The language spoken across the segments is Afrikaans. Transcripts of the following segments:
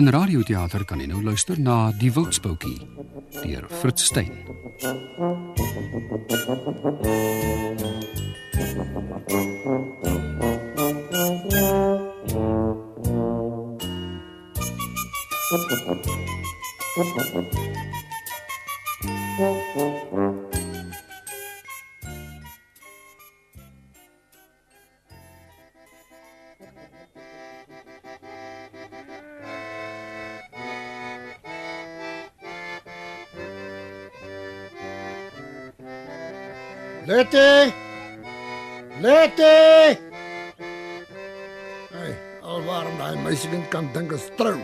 In radioteater kan jy nou luister na Die Wildspoutjie deur Fritz Stein. Letty! Letty! Hey, alwaarom daai meisiekind kan dink is trou.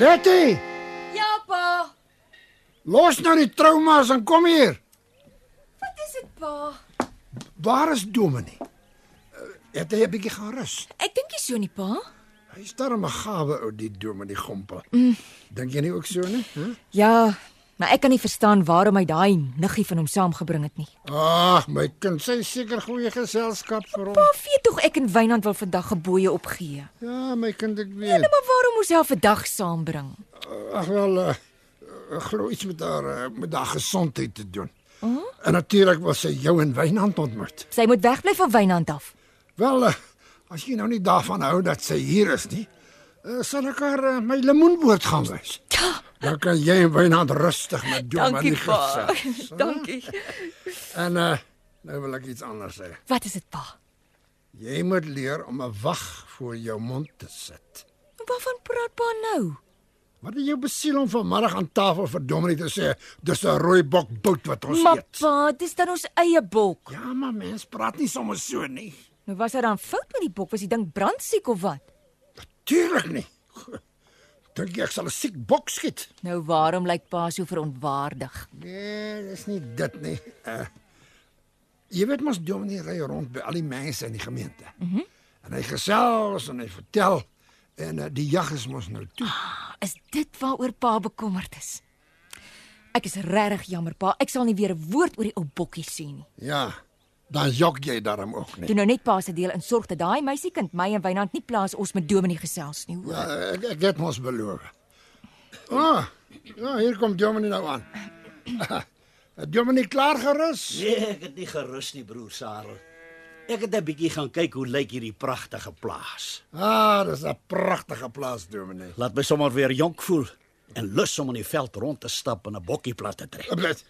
Letty, Ja, pa. los nou die trauma's en kom hier. Wat is dit, pa? Waar is Dominee? Eh, Het hy 'n bietjie gaan rus? Ek dink nie so nie, pa. Hy's darem 'n gawe ou die Dominee Gompel. Dink jy nie ook so nie? Huh? Mm, Ja, maar ek kan nie verstaan waarom hy daai niggie van hom saamgebring het nie. Ag, my kind, sy is seker goeie geselskap vir hom. Pa weet tog ek en Wynand wil vandag gebooie opgee. Ja, my kind, ek weet. Nee, maar waarom moes hy haar vandag saambring? Ag wel, eh, eh, glo iets met haar eh, met haar gesondheid te doen. Oh? En natuurlik was sy jou in Wynand ontmoet. Sy moet wegbly van Wynand af. Wel, eh, as jy nou nie daarvan hou dat sy hier is nie, eh, sal ek haar eh, my lemoenboord gaan wys. Ja, Dan kan jy in Wynand rustig met Dom en die gesels. Dankie. En uh, nou wil ek iets anders sê. Wat is dit, pa? Jy moet leer om 'n wag voor jou mond te sit. Waarvan praat pa nou? Wat het jou besiel om vanmiddag aan tafel vir Dominic te sê dis 'n rooi bok bout wat ons Maar eet? pa, dis dan ons eie bok. Ja, maar mens praat nie sommer so nie. Nou was daar dan fout met die bok, was die ding brandsiek of wat? Tuurlik nie. Dink jy ek sal 'n siek bok skiet? Nou waarom lyk pa so verontwaardig? Nee, dis nie dit nie. Uh, jy weet mos Dominee ry rond by al die mense in die gemeente. Mm -hmm. En hy gesels en hy vertel en uh, die jag is mos nou toe. Ah, Is dit waaroor pa bekommerd is? Ek is regtig jammer pa, ek sal nie weer 'n woord oor die ou bokkie sê nie. Ja. Dan jog jy daarom ook nie. Doen nou net pa se deel en sorg dat daai meisiekind my en Wynand nie plaas ons met Dominee gesels nie, hoor. Ja. Ja, ek, ek het mos beloof. O, oh, ja, hier kom Dominee nou aan. Het Dominee klaar gerus? Nee, ek het nie gerus nie, broer Sarel. Ek het 'n bietjie gaan kyk hoe lyk hierdie pragtige plaas. Ah, dis 'n pragtige plaas, Dominee. Laat my sommer weer jonk voel en lus om in die veld rond te stap en 'n bokkie plat te trek. Blad.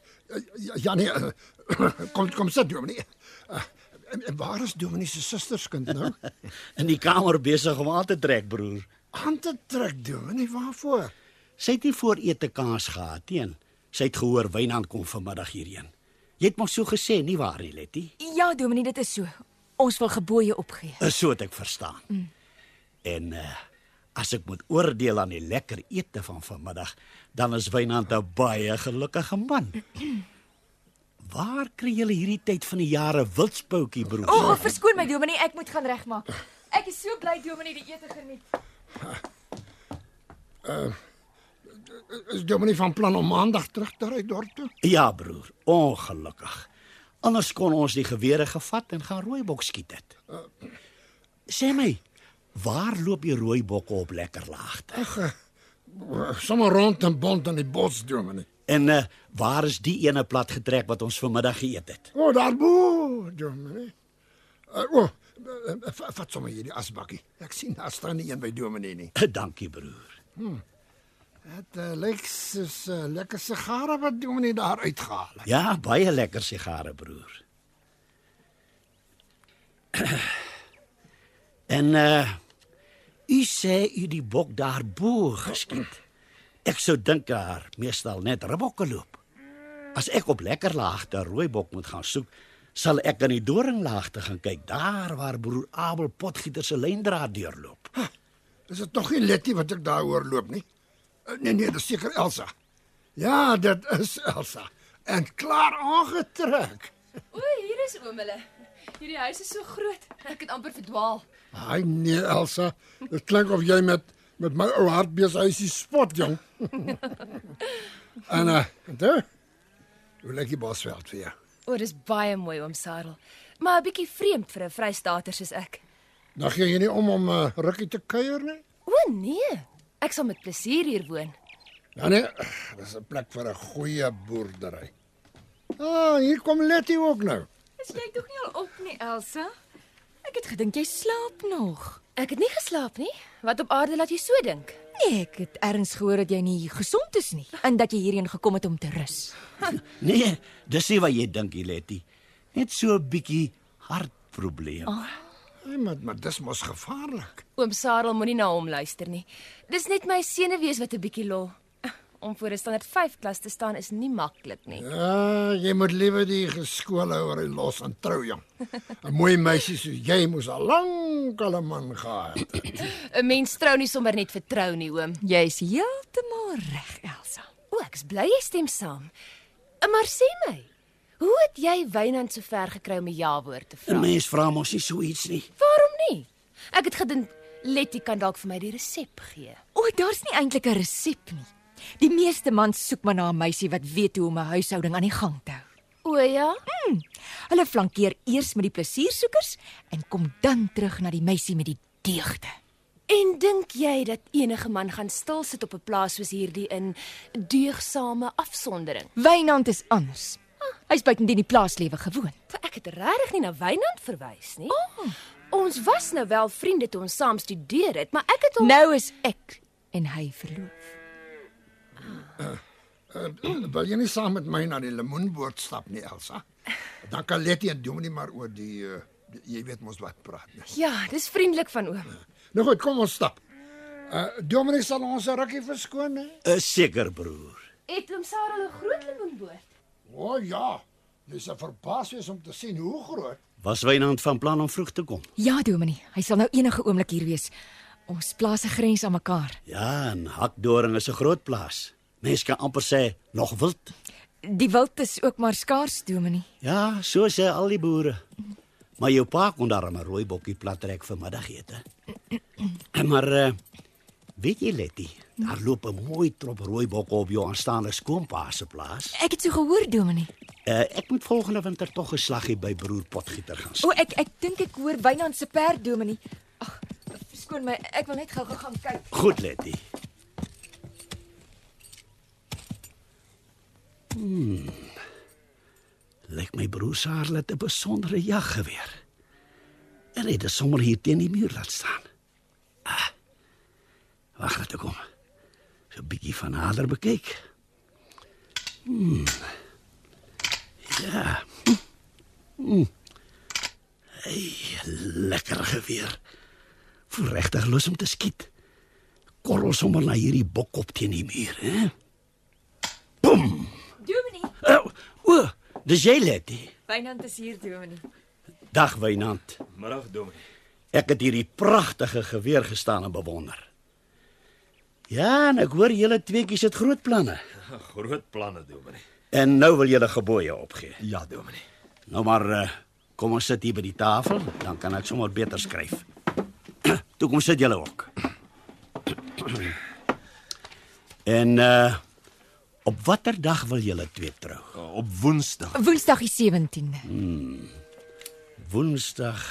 Ja nee, eh, kom kom sit Dominee. Eh, eh, Waar is Dominee se susterskind nou? In die kamer besig om aan te trek, broer. Aan te trek Dominee, waarvoor? Sy het nie voor ete kaas gehad nie. en Sy het gehoor Wynand kom vanmiddag hierheen. Jy het mos so gesê, nie waar nie, Letty? ja, Dominee, dit is so. Ons wil gebooie opgee. Is Eh, so het ek verstaan. Mm. En uh, as ek moet oordeel aan die lekker ete van vanmiddag, dan is Wynand 'n baie gelukkige man. Waar kry julle hierdie tyd van die jare wildspoutjie broer? O, oh, verskoon my Dominee, ek moet gaan regmaak. Ek is so bly Dominee die ete geniet. Eh, Is Dominee van plan om maandag terug te ry dorp toe? Ja broer, ongelukkig. Anders kon ons die gewere gevat en gaan rooibok skiet het. Eh, Sê my, waar loop die rooibokke op lekker laagte? Sommige eh, rond en bond in die bos Dominee. En uh, waar is die ene plat getrek wat ons vanmiddag geëet het? O, oh, daarbo Dominee. Eh, O, oh, vat sommer hierdie asbakkie. Ek sien daar staan nie een by Dominee nie. Dankie broer. Dit uh, lyk soos 'n uh, lekker sigare wat Dominee daar uitgehaal het. Ja, baie lekker sigare, broer. en uh u sê u die bok daarbo geskiet. Ek sou dink daar meestal net ribbokke loop. As ek op Lekkerlaagte rooibok moet gaan soek, sal ek aan die Doringlaagte gaan kyk, daar waar broer Abel Potgieter se lyndraad deurloop. Is dit nog nie Letty wat ek daar hoor loop nie? Eh, Nee nee, dis seker Elsa. Ja, dit is Elsa. En klaar aangetrek. O, hier is oom hulle. Hierdie huis is so groot. Ek het amper verdwaal. Ai nee Elsa, dit klink of jy met met my ou hart besig is die spot jong. en uh, daar. Hoe lekker Bosveld vir jou. O, dis baie mooi oom Sarel. Maar 'n bietjie vreemd vir 'n Vrystater soos ek. Dan gee jy nie om om 'n uh, rukkie te kuier nie. O nee, ek sal met plesier hier woon. Ja Nou nee, dis 'n plek vir 'n goeie boerdery. Ah, hier kom Letty ook nou. Is jy tog nie al op nie, Elsa? Ek het gedink jy slaap nog. Ek het nie geslaap nie. Wat op aarde laat jy so dink? Nee, ek het erns gehoor dat jy nie gesond is nie en dat jy hierheen gekom het om te rus. Nee, dis nie wat jy dink, Letty. Net so 'n bietjie hartprobleem. Oh. Nee, maar maar dis mos gevaarlik. Oom Sarel moenie na hom luister nie. Dis net my senuwees wat 'n bietjie lol. Om voor 'n standaard 5 klas te staan is nie maklik nie. Ja, jy moet liewer die geskoolhouer los en trou jong. 'n Mooi meisie soos jy moes al lank al 'n man gehad. het. 'n Mens trou nie sommer net vertrou nie, oom. Jy's heeltemal reg, Elsa. O, ek's bly jy stem saam. Maar sê my, hoe het jy Wynand so ver gekry om 'n ja-woord te 'n vra? Mens vra mos nie so iets nie. Waarom nie? Ek het gedink Letty kan dalk vir my die resep gee. O, daar's nie eintlik 'n resep nie. Die meeste mans soek maar na 'n meisie wat weet hoe om 'n huishouding aan die gang te hou. Mm. O ja, Hulle flankeer eers met die plesiersoekers en kom dan terug na die meisie met die deugde. en dink jy dat enige man gaan stil sit op 'n plaas soos hierdie in deugsame afsondering? Wynand is anders. Hy's buitendien die plaaslewe gewoond. Want ek het regtig nie na Wynand verwys nie. Oh. Ons was nou wel vriende toe ons saam studeer het, maar ek het hom Nou is ek en hy verloof. Eh, Wil jy nie saam met my na die lemoenboord stap nie, Elsa? Dan kan Letty en Dominie maar oor die, uh, die jy weet mos wat praat. nie. Ja, dis vriendelik van oom. Nou goed, kom ons stap. Uh, Dominie sal ons 'n rukkie verskoon hè. Is seker, broer. Het oom Sarah 'n groot lemoenboord? O oh, ja, jy sal verbaas wees om te sien hoe groot. Was Wynand van plan om vroeg te kom? Ja, Dominie, hy sal nou enige oomblik hier wees. Ons plaas 'n grens aan mekaar. Ja, en Hakdoring is 'n groot plaas. Mens kan amper sê nog wild. Die wild is ook maar skaars, Dominie. Ja, so sê al die boere. Maar jou pa kon daar 'n rooi bokkie plat trek vir middagete. maar uh, weet jy Letty, daar loop 'n mooi trop rooi bokke op jou aanstaande skoonpa se plaas. Ek het so gehoor, Dominie. Uh, ek moet volgende winter tog 'n slaggie by broer Potgieter gaan. O, ek ek dink ek hoor Wynand se perd, Dominie. Ag, verskoon my, ek wil net gou-gou gaan kyk. Goed Letty. Hmm. Hmm. Lyk my broer Saar het 'n besondere jag geweer. En dit is sommer hier teen die muur laat staan. Ah. Wag net ek kom. So 'n bietjie van nader bekyk. Hmm. Ja. Hmm. Hm. Hey, lekker geweer. Voel regtig lus om te skiet korrel sommer na hierdie bok op teen die muur, hè? Dominie, O, o, dis jy Letty. Wynand is hier, Dominie. Dag Wynand. Middag Dominee. Ek het hierdie pragtige geweer gestaan en bewonder. Ja, en ek hoor julle tweeetjies het groot planne. Groot planne, Dominee. En nou wil julle geboye opgee. Ja, Dominee. Nou maar eh, kom ons sit hier by die tafel, dan kan ek sommer beter skryf. Toe kom sit julle ook. En uh op watter dag wil julle twee trou? Eh, Op Woensdag. Woensdag die 17de. Hmm. Woensdag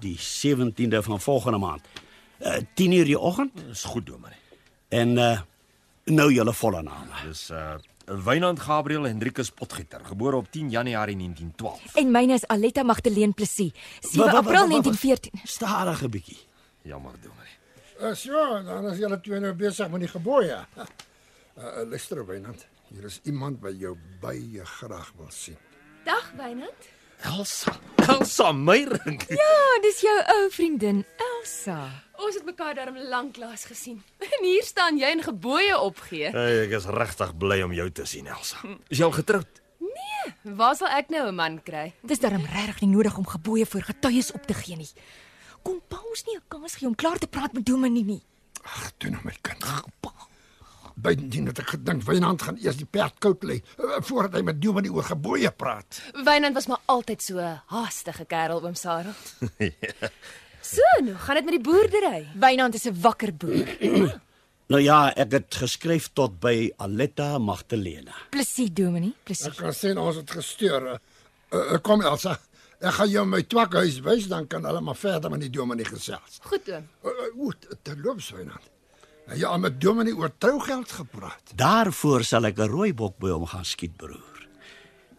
die 17de van volgende maand. Uh, 10 uur die oggend Dis Eh, goed, Dominee. en uh, nou julle volle name. Dis uh Wynand Gabriel Hendrikus Potgieter, gebore op 10 Januarie 1912. En myne is Aletta Magdalene Plessis. 7 Wa- wa- wa- April wa- wa- 1914. Stadig 'n bietjie. Jammer, Dominee. Uh, so, dan is julle twee nou besig met die geboue. Uh, uh, luister Wynand, hier is iemand wat jou baie graag wil sien. Dag Wynand. Elsa. Elsa Meyring. Ja, dis jou ou vriendin Elsa. Ons het mekaar darm lanklaas gesien. En hier staan jy en geboye opgee. Hey, ek is regtig bly om jou te sien, Elsa. Is jy al getroud? Ja. Waar sal ek nou 'n man kry? Dis darm regtig nie nodig om gebooie vir getuies op te gee nie. Kom pa ons nie 'n kans gee om klaar te praat met Dominee nie. Ag, toe nou my kind. Bydien dat ek gedink Wynand gaan eers die perd koud lê eh, voordat hy met Dominee oor geboye praat. Wynand was maar altyd so 'n haastige kerel oom Sarah. So, nou gaan dit met die boerdery. Wynand is 'n wakker boer. Nou ja, ek het geskryf tot by Aletta Magdalena. Plesie Dominee, plesie. Ek kan sien ons het gesteur. Uh, kom Elsa, ek gaan jou my twakhuis wys dan kan hulle maar verder met die dominee gesels. Goed oom. Uh, uh, Oet, te loop Wynand. Ja, met Dominee oor trougeld gepraat. Daarvoor sal ek 'n rooibok by hom gaan skiet, broer.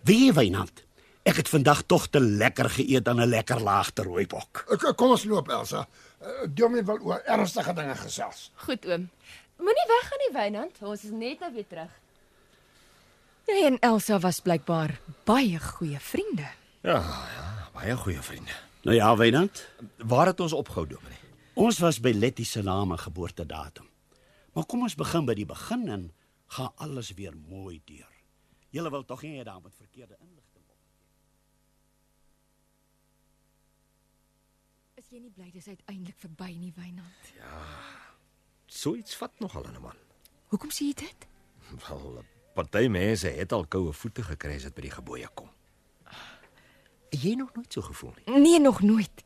Wie Wynand? Ek het vandag tog te lekker geëet aan 'n lekker laagte rooibok. Ek kom ons loop Elsa. Uh, Dominee wil oor ernstige dinge gesels. Goed oom. Moenie weggaan nie Wynand, ons is net nou weer terug. Jy en Elsa was blykbaar baie goeie vriende. Ja, ja, baie goeie vriende. Nou ja, Wynand, Waar het ons opgehou, Dominee? ons was by Letty se naam en geboortedatum. Maar kom ons begin by die begin en gaan alles weer mooi deur. Julle wil tog nie hê daar moet verkeerde inligting op. Is jy nie bly dis uiteindelik verby nie, Wynand? Ja, So iets vat nogal aan 'n man. Hoekom sê jy dit? Wel, 'n party mense het al koue voete gekry as dit by die geboye kom. Het Jy nog nooit so gevoel nie. Nee, nog nooit.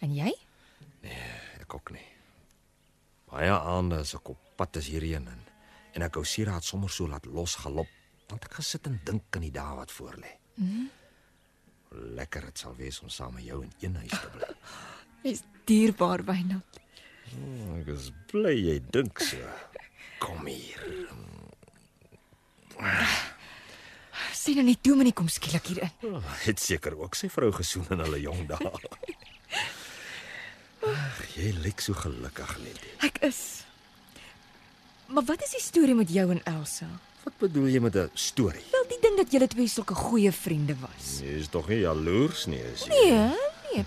En jy? Ek ook nie. Baie aande as ek op pad is hierheen en, en ek hou sieraad sommer so laat los galop, want ek gesit en dink aan die dae wat voor lê. Mm. Mm-hmm. Lekker dit sal wees om saam met jou in een huis te bly. Jy's dierbaar, Wynand. Hmm, Ek is bly jy dink so. Kom hier. Sien nou net Dominee kom skielik hier in. Oh, het seker ook sy vrou gesoen in hulle jong dae. Ag, jy lyk so gelukkig net. Ek is. Maar wat is die storie met jou en Elsa? Wat bedoel jy met 'n storie? Wel, die ding dat julle twee sulke goeie vriende was. Jy is tog nie jaloers nie, is jy? Nee, nee.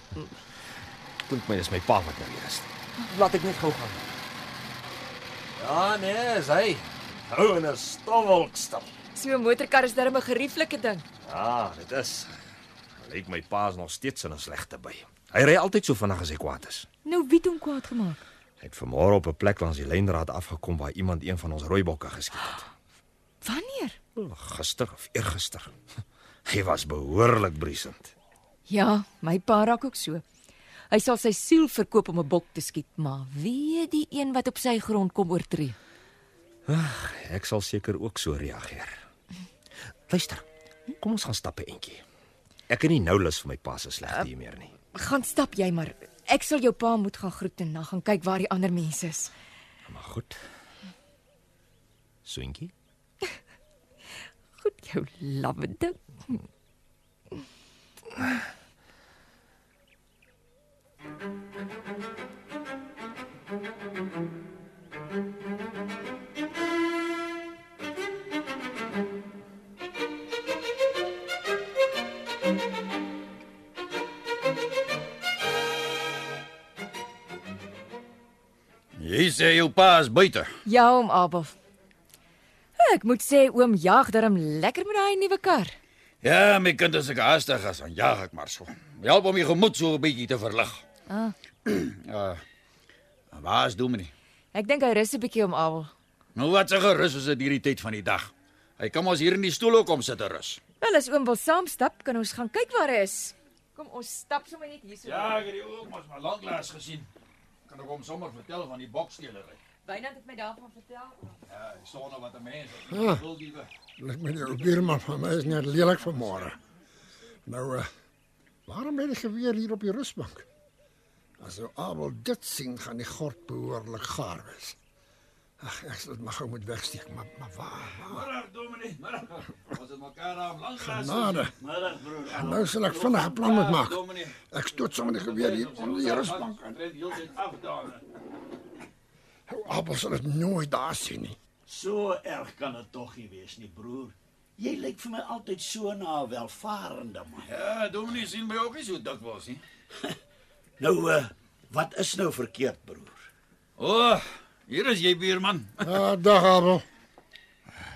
klink my dis my pa wat nou hier is. Laat ek net gou gaan. Ja, nee, is hy. Hou in 'n stofwolkstap. So 'n motorkar is darem 'n gerieflike ding. Ja, dit is. Lyk my pa is nog steeds in 'n slegte by. Hy ry altyd so vinnig as hy kwaad is. Nou wie het hom kwaad gemaak? Hy het vanmôre op 'n plek langs die lyndraad afgekom waar iemand een van ons rooibokke geskiet het. Wanneer? O, Gister of eergister. Hy was behoorlik briesend. Ja, my pa raak ook so. Hy sal sy siel verkoop om 'n bok te skiet, maar wie die een wat op sy grond kom oortree? Ek sal seker ook so reageer. Luister. Kom ons gaan stap 'n entjie. Ek het nie nou lus vir my pa se slegte hier meer nie. Gaan stap jy maar. Ek sal jou pa moet gaan groet en dan gaan kyk waar die ander mense is. Maar goed. Swinkie? Goed jou lawwe ding. Jy sê jou pa is buite. Ja, oom Abel. Ek moet sê oom jag darm lekker met daai nuwe kar. Ja, my kind is ek haastig as aan jag ek maar so. Help om jou gemoed so 'n bietjie te verlig. Ah. uh, waar is Dominee? Ek dink hy rus 'n bietjie oom Abel. Nou wat se gerus is dit hierdie tyd van die dag. Hy kom ons hier in die stoel ook om sit te rus. Wel as oom wil saamstap, kan ons gaan kyk waar hy is. Kom ons stap sommer net hierso. Ja, ek het die oom mos maar lanklaas gesien. Kan ek hom sommer vertel van die boksteelery? Wynand het my daarvan vertel. Ja, ek staan nou wat 'n mens. Ah. Ek wil die Lyk my jou buurman van my is net lelik vanmôre. Nou uh, waarom het hy geweer hier op die rusbank? As ou Abel dit sien, gaan die gord behoorlik gaar wees. Ag, ek sal dit maar gou moet wegsteek, maar maar waar? waar? Middag Dominee, middag. Ons het mekaar aan lanklaas. Genade. Middag broer. En nou sal ek vinnig 'n plan moet maak. Ja, Dominee. Ek stoot sommer die geweer hier onder die rusbank. Ek red heeltyd af daar. Ou Abel sal dit nooit daar sien nie. So erg kan dit tog nie wees nie, broer. Jy lyk vir my altyd so na 'n welvarende man. Ja, Dominee sien my ook nie so dikwels nie. Nou, uh, wat is nou verkeerd, broer? O, hier is jy buurman. Ja, dag Abel.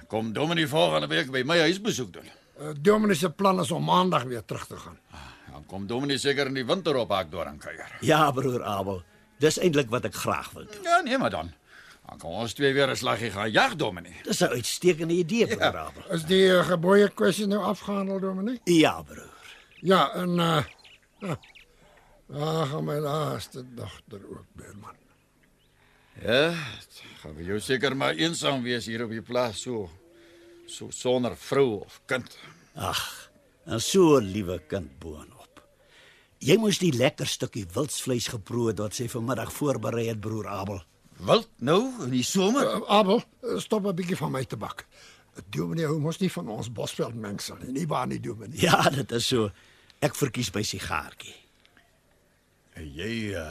Kom Dominee volgende week by my huis besoek doen. Uh, Dominee se plan is om maandag weer terug te gaan. Dan kom Dominee seker in die winter op Hakdoring kuier. Ja, broer Abel. Dis eintlik wat ek graag wil doen. Ja, nee maar dan. Dan kan ons twee weer 'n slaggie gaan jag, Dominee. Dis 'n uitstekende idee, broer ja. Abel. Is die uh, geboue kwessie nou afgehandel, Dominee? Ja, broer. Ja, en uh ja. Ag, gaan my laaste dogter ook Beerman. Ja, het gaan vir jou seker maar eensaam wees hier op die plaas so so sonder vrou of kind. Ag, en Nou so 'n liewe kind boonop. Jy moes die lekker stukkie wildsvleis geproe het wat sy vanmiddag voorberei het, broer Abel. Wild nou in die somer? Uh, Abel, eh, stop 'n bietjie van my te bak. Dominee hou mos nie van ons Bosveld mengsel nie, nie waar nie, Dominee? Ja, dit is so. Ek verkies my sigaartjie. Het jy uh,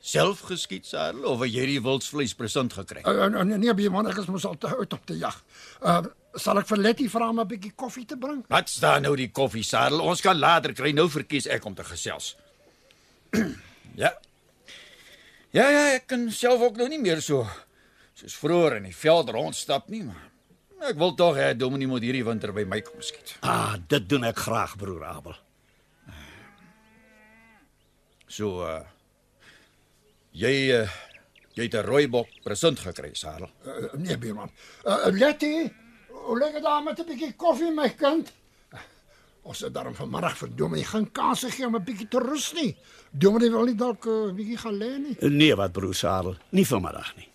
self geskiet, Sarel, of het jy die wildsvleis present gekry? Uh, uh, nee, nee, man, ek is mos al te oud op te jag. Uh sal ek vir Letty vra om 'n bietjie koffie te bring? Wat staan nou die koffie, Sarel? Ons kan later kry. Nou verkies ek om te gesels. ja. Ja ja, ek kan self ook nou nie meer so soos vroeër in die veld rondstap nie, maar ek wil tog hê Dominee moet hierdie winter by my kom skiet. Ah, dit doen ek graag, broer Abel. So uh jy uh, jy het 'n rooibok present gekry, Sarel. Uh, nee, Beerman. Uh, Letty, hoe lekker daar met 'n bietjie koffie, my kind? Ons het daarom vanmiddag vir Dominee geen kans gegee om 'n bietjie te rus nie. Dominee wil nie dalk 'n uh, bietjie gaan lê nie. Nee, wat broer Sarel, nie vanmiddag nie.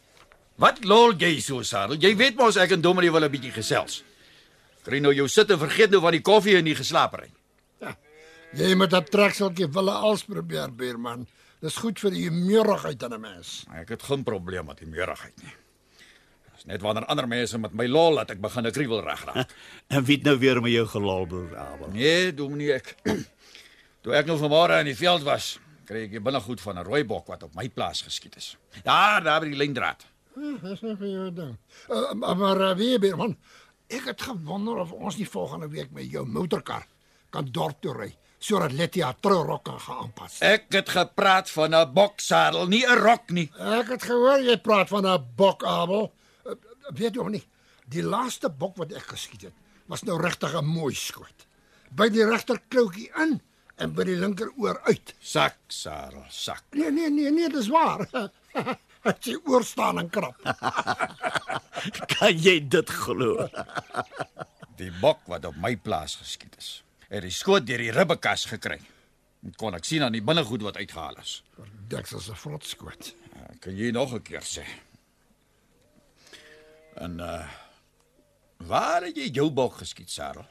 Wat lol jy so, Sarel? Jy weet mos ek en Dominee wil 'n bietjie gesels. Kry nou jou sit en vergeet nou van die koffie en die geslaapery. Jy moet dat trekseltjie wille als probeer, Beerman. Dis goed vir die humeurigheid in 'n mens. Ek het geen probleem met die meerigheid nie. Dis net wanneer ander mense met my lol laat ek begin 'n kriewel regraak. En wie het nou weer met jou gelol, broer Abel? Nee, Dominee ek. Toe ek nou vanmôre in die veld was, kry ek hier binne goed van 'n rooibok wat op my plaas geskiet is. Daar, daar by die lyndraad. Hm, Dis nog 'n goeie ding. Uh, maar- maar uh, wie, Beerman? Ek het gewonder of ons nie volgende week met jou motorkar kan dorp toe ry sodat Letty haar trourok kan gaan aanpas. Ek het gepraat van 'n boksadel, nie 'n rok nie. Ek het gehoor jy praat van 'n bok, Abel. Uh, Weet jy hom nie? Die laaste bok wat ek geskiet het, was nou regtig 'n mooi skoot. By die regter kloutjie in en by die linker oor uit. Sak, Sarel, sak. Nee, nee, nee, nee, dis waar. Het jy oor staan en krap. Kan jy dit glo? Die bok wat op my plaas geskiet is, het die skoot deur die ribbekas gekry. En kon ek sien aan die binnegoed wat uitgehaal is. Deks is 'n vrot skoot. Eh, Kan jy nog 'n keer sê? En uh waar het jy jou bok geskiet, Sarel?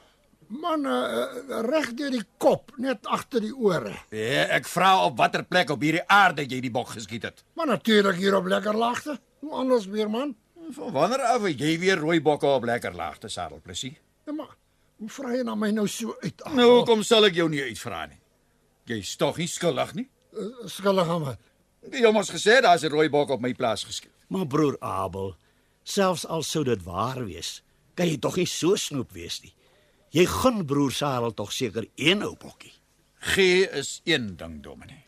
Man, uh, reg deur die kop, net agter die ore. Ja, ek vra op watter plek op hierdie aarde jy die bok geskiet het. Maar natuurlik hier op lekker lagte. Hoe anders weer man? Van wanneer af het jy weer rooi bokke op lekker laagte, Sarel, plesie? Ja, maar hoe vra jy nou my nou so uit? Abel? Nou hoekom sal ek jou nie uitvra nie? Jy's tog nie skuldig nie. Uh, Skuldig aan wat? Jy het mos gesê daar's 'n rooi bok op my plaas geskiet. Maar broer Abel, selfs al sou dit waar wees, kan jy tog nie so snoep wees nie. Jy gun broer Sarel tog seker een ou bokkie. Gee is een ding, Dominee.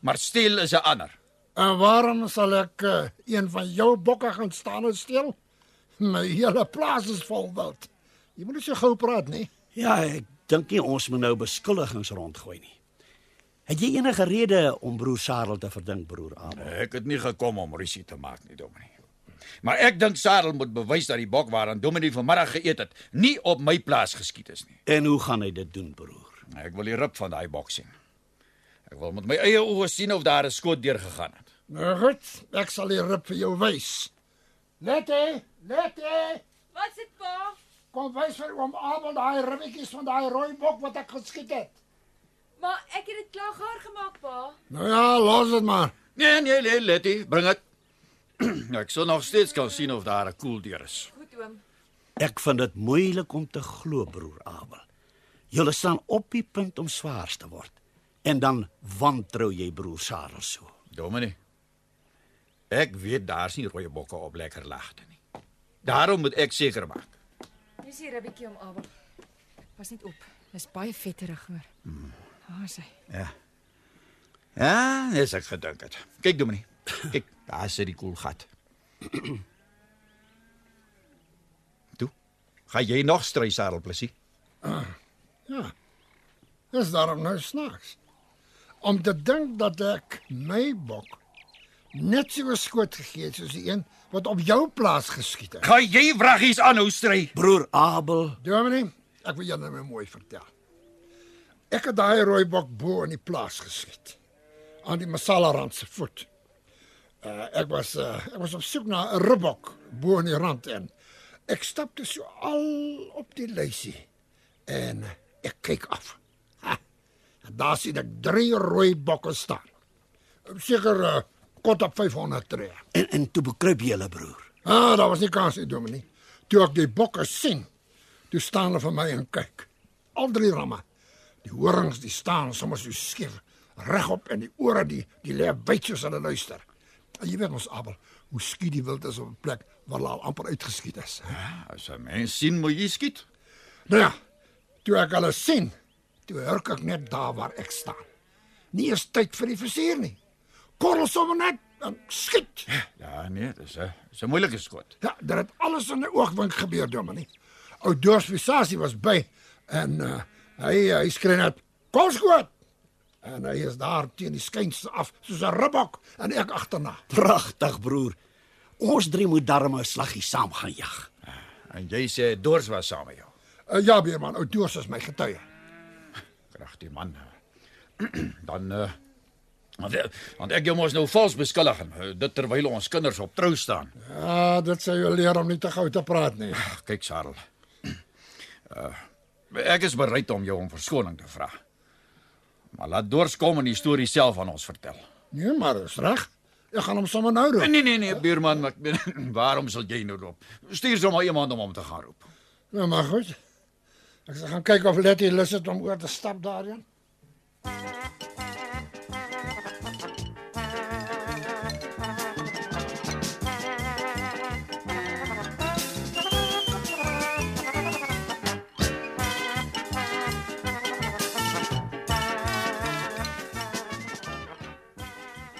Maar steel is 'n ander. En waarom sal ek uh, een van jou bokke gaan staan en steel? My hele plaas is vol wild. Jy moet nie so gou praat nee. nie. Ja, ek dink nie ons moet nou beskuldigings rondgooi nie. Het jy enige rede om broer Sarel te verdink, broer Abel? Ek het nie gekom om rusie te maak nie, Dominee. Maar ek dink Sarel moet bewys dat die bok waaraan Dominee vanmiddag geëet het, nie op my plaas geskiet is nie. En hoe gaan hy dit doen, broer? Ek wil die rib van daai bok sien. Ek wil met my eie oë sien of daar 'n skoot deur gegaan het. Nou goed, ek sal die rib vir jou wys. Letty, Letty, Wat sit pa? kom wys vir oom Abel daai ribbetjies van daai rooi bok wat ek geskiet het. Maar ek het dit klaar gaar gemaak, pa. Nou ja, los dit maar. Nee, nee, nee, Letty, bring dit. ek sou nog steeds kan sien of daar 'n koel deur is. Goed oom. Ek vind dit moeilik om te glo, broer Abel. Julle staan op die punt om swaar te word. En dan wantrou jy broer Sarel so. Dominee. Ek weet daar's nie rooi bokke op lekker lagte nie. Daarom moet ek seker maak. Dis hier 'n bietjie om Abel. Pas net op. Dis baie vetterig hoor. Hmm. Daar is hy. Ja, dis ek gedink het. Kyk Dominee. Kyk, daar sit die koelgat. Toe. Gaan jy nog stry Sarel plesie? Ja. Dis daarom nou snaaks. Om te dink dat ek my bok net so 'n skoot gegee het soos die een wat op jou plaas geskiet het. Gaan jy wraggies aanhou stry? Broer Abel, Dominee, ek wil jou nou maar mooi vertel. Ek het daai rooi bok bo in die plaas geskiet aan die Masalarand se voet. Uh, ek was uh, ek was op soek na 'n ribbok bo in die rand en ek stap toe so al op die lysie en ek kyk af. Ha, en daar sien ek drie rooi bokke staan. Seker uh, kot op 500 tree. en en toe bekruip jy hulle broer. Ah, daar was nie kans nie, Dominee. Toe ek die bokke sien, toe staan hulle vir my en kyk. Al drie ramme. Die horings, die staan sommer so skief regop en die ore die die lê wyd soos hulle luister. En jy weet ons Abel, hoe skiet die wild is op 'n plek waar hulle al amper uitgeskiet is. As 'n mens sien moet jy skiet. Nou ja, toe ek hulle sien, toe hurk ek net daar waar ek staan. Nie eens tyd vir die versier nie. Korrel sommer net en skiet. Ja, nee, dis 'n dis 'n moeilike skot. Ja, dit het alles in 'n oogwink gebeur, Dominee. Ou Dors Visasie was by en uh, hy hy skree net: "Kom skoot!" En hy is daar teen die skynste af soos 'n ribbok en ek agterna. Pragtig broer. Ons drie moet darm 'n slaggie saam gaan jag. Ah, En jy sê Dors was saam met jou. Uh, ja, beerman, ou Dors is my getuie. Kragtige man. Dan eh want, want ek jou mos nou vals beskuldig en eh, dit terwyl ons kinders op trou staan. Ja, dit sou jou leer om nie te gou te praat nie. Ag, kyk Sarel. Uh ek is bereid om jou om verskoning te vra. Maar laat Dors kom en die storie self aan ons vertel. Nee, maar is reg. Ek gaan hom sommer nou roep. Nee nee nee, buurman, ek ben, waarom sal jy nou roep? Stuur sommer iemand om hom te gaan roep. Nou maar goed. Ek sal gaan kyk of Letty lus het om oor te stap daarin.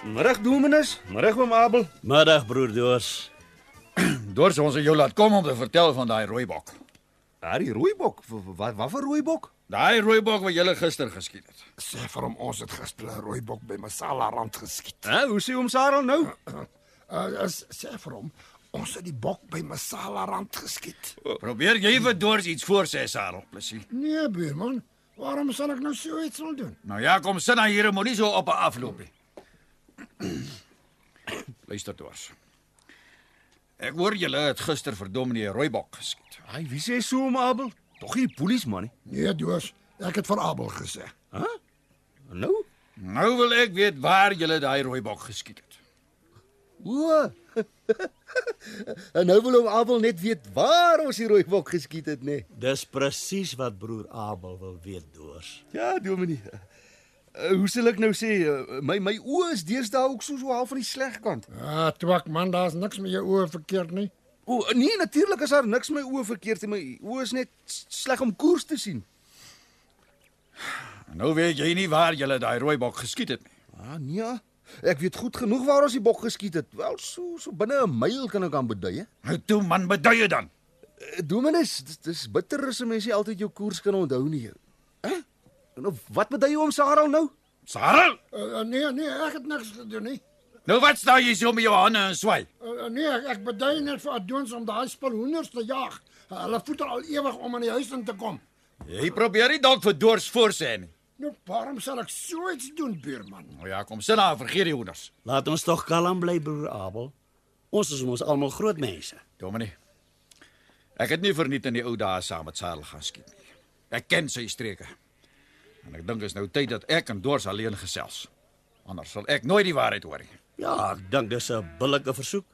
Middag Dominus, middag oom Abel. Middag broer Doors. Dors ons het jou laat kom om te vertel van daai rooibok. Daai rooibok, wat wat vir rooibok? Daai rooibok wat jy gister geskiet het. Sê vir hom ons het gister 'n rooi bok by Masala rand geskiet. Hæ, hoe sê oom Sarel nou? Uh, s- sê vir hom, ons het die bok by Masala rand geskiet. Probeer jy vir Dors iets voorsê, Sarel, plesie. Nee, buurman, waarom sal ek nou so iets wil doen? Nou ja, kom sit dan hier en moenie so op 'n afloop nie. Luister dors. Ek hoor julle het gister vir Dominee Rooibok geskiet. Ai, wie sê so oom Abel? Tog nie die polisie man nie. Nee, Doos, ek het vir Abel gesê. Nou? Nou wil ek weet waar julle daai Rooibok geskiet het. O. en nou wil oom Abel net weet waar ons die rooibok geskiet het, nê? Nee. Dis presies wat broer Abel wil weet Doors. Ja, Dominee. Uh, hoe sal ek nou sê, uh, my my oë is deesdae ook so so half van die sleg kant. Ah, twak man, daar's niks met jou oë verkeerd nie. O, nee, natuurlik is daar niks met my oë verkeerd nie, my oë is net s- sleg om koers te sien. En nou weet jy nie waar julle daai Rooibok geskiet het nie. Ah, nee. ja. Ek weet goed genoeg waar ons die bok geskiet het. Wel so so binne 'n myl kan ek aan bedui, hè. Nou toe man, beduie dan. Eh, Dominus, dis, dis bitter as 'n mens nie altyd jou koers kan onthou nie. Hè? Nou wat bedui jy oom Sarel nou? Sarel, Uh, nee, nee, ek het niks gedoen nie. nou wat staan jy so met jou hande en swai? Uh, nee, ek, ek bedui net vir Adoons om daai spul hoenders te jaag. Uh, hulle voeter al ewig om in die huis in te kom. Jy probeer nie dalk vir Dors voorsê nie. Nou, waarom sal ek so iets doen, buurman? Nou ja, kom sit daar, vergeet die hoenders. Laat ons tog kalm bly broer Abel. Ons is mos almal groot mense. Dominee. Ek het nie verniet in die ou dae saam met Sarel gaan skiet nie. Ek ken sy streke. En ek dink is nou tyd dat ek en Dors alleen gesels. Anders sal ek nooit die waarheid hoor nie. Ja, ek dink dis 'n billike versoek.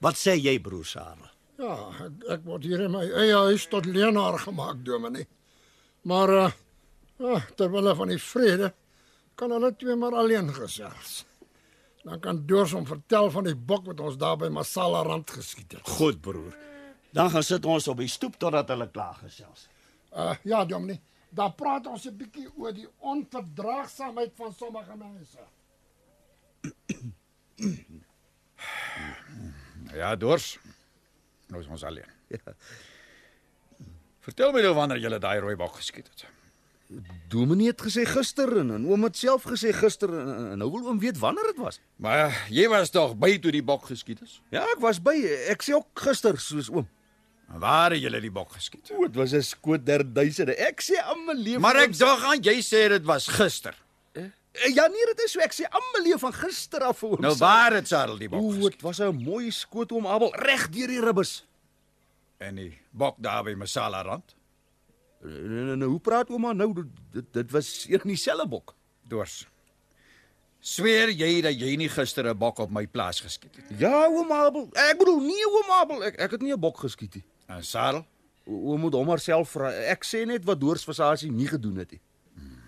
Wat sê jy broer Sarel? Ja, ek, ek word hier in my eie huis tot leenaar gemaak, dominee. Maar uh ja, terwyl van die vrede kan hulle twee maar alleen gesels. Dan kan Doors hom vertel van die bok wat ons daar by Masala rand geskiet het. Goed broer. Dan gaan sit ons op die stoep totdat hulle klaar gesels het. Uh Ah. ja, dominee, daar praat ons 'n bietjie oor die onverdraagsaamheid van sommige mense. Ja. Nou ja, Dors. Nou is ons alleen. Vertel my nou wanneer jy daai rooibok geskiet het. Dominee het gesê gister en, en oom het self gesê gister en, en, en nou wil oom weet wanneer dit was. Maar eh, jy was tog by toe die bok geskiet is. Ja, ek was by. Ek sê ook gister soos oom. En Waar het jy die bok geskiet? O, dit was 'n skoot der duisende. Ek sê almal leef. Maar ek dog aan jy sê dit was gister. ja nee, dit is so. Ek sê almal leef van gister af vir oom. Nou waar het Sarel die bok O, geskiet? dit was 'n mooi skoot oom Abel reg deur die ribbes. En die bok daar by Masala rand Nou, nou hoe praat ouma nou? Dit- Dit dit was een en dieselfde bok. dors. Sweer jy dat jy nie gister 'n bok op my plaas geskiet het nie? Ja, oom Abel. Ek bedoel nee, oom Abel. Ek ek het nie 'n bok geskiet nie. En Sarel, O- Oom moet hom homself vra. Ek sê net wat Doors Versace nie gedoen het nie. Hmm.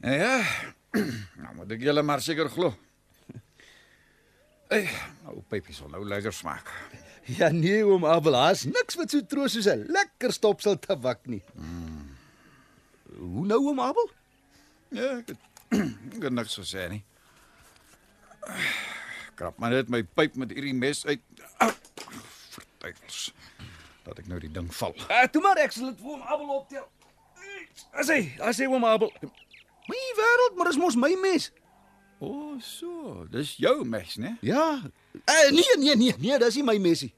Nou Ja. Nou moet ek julle maar seker glo. Ey, nou pypies sal nou lekker smaak. Ja nee, oom Abel, daar's niks wat so troos soos 'n lekker stopsel tabak nie. Hoe nou oom Abel? Hmm. Ja, ek het, ek het niks gesê nie. Krap maar net my pyp met hierdie mes uit. Au, Verduivels. Dat ek nou die ding val. Uh, toe maar ek sal dit vir oom Abel optel. As hy, as hy oom Abel. My wêreld, maar dis mos my mes. O, oh, so. Dis jou mes, né? Eh, Ja. Uh, nee, nee, nee, nee, dis nie my mesie.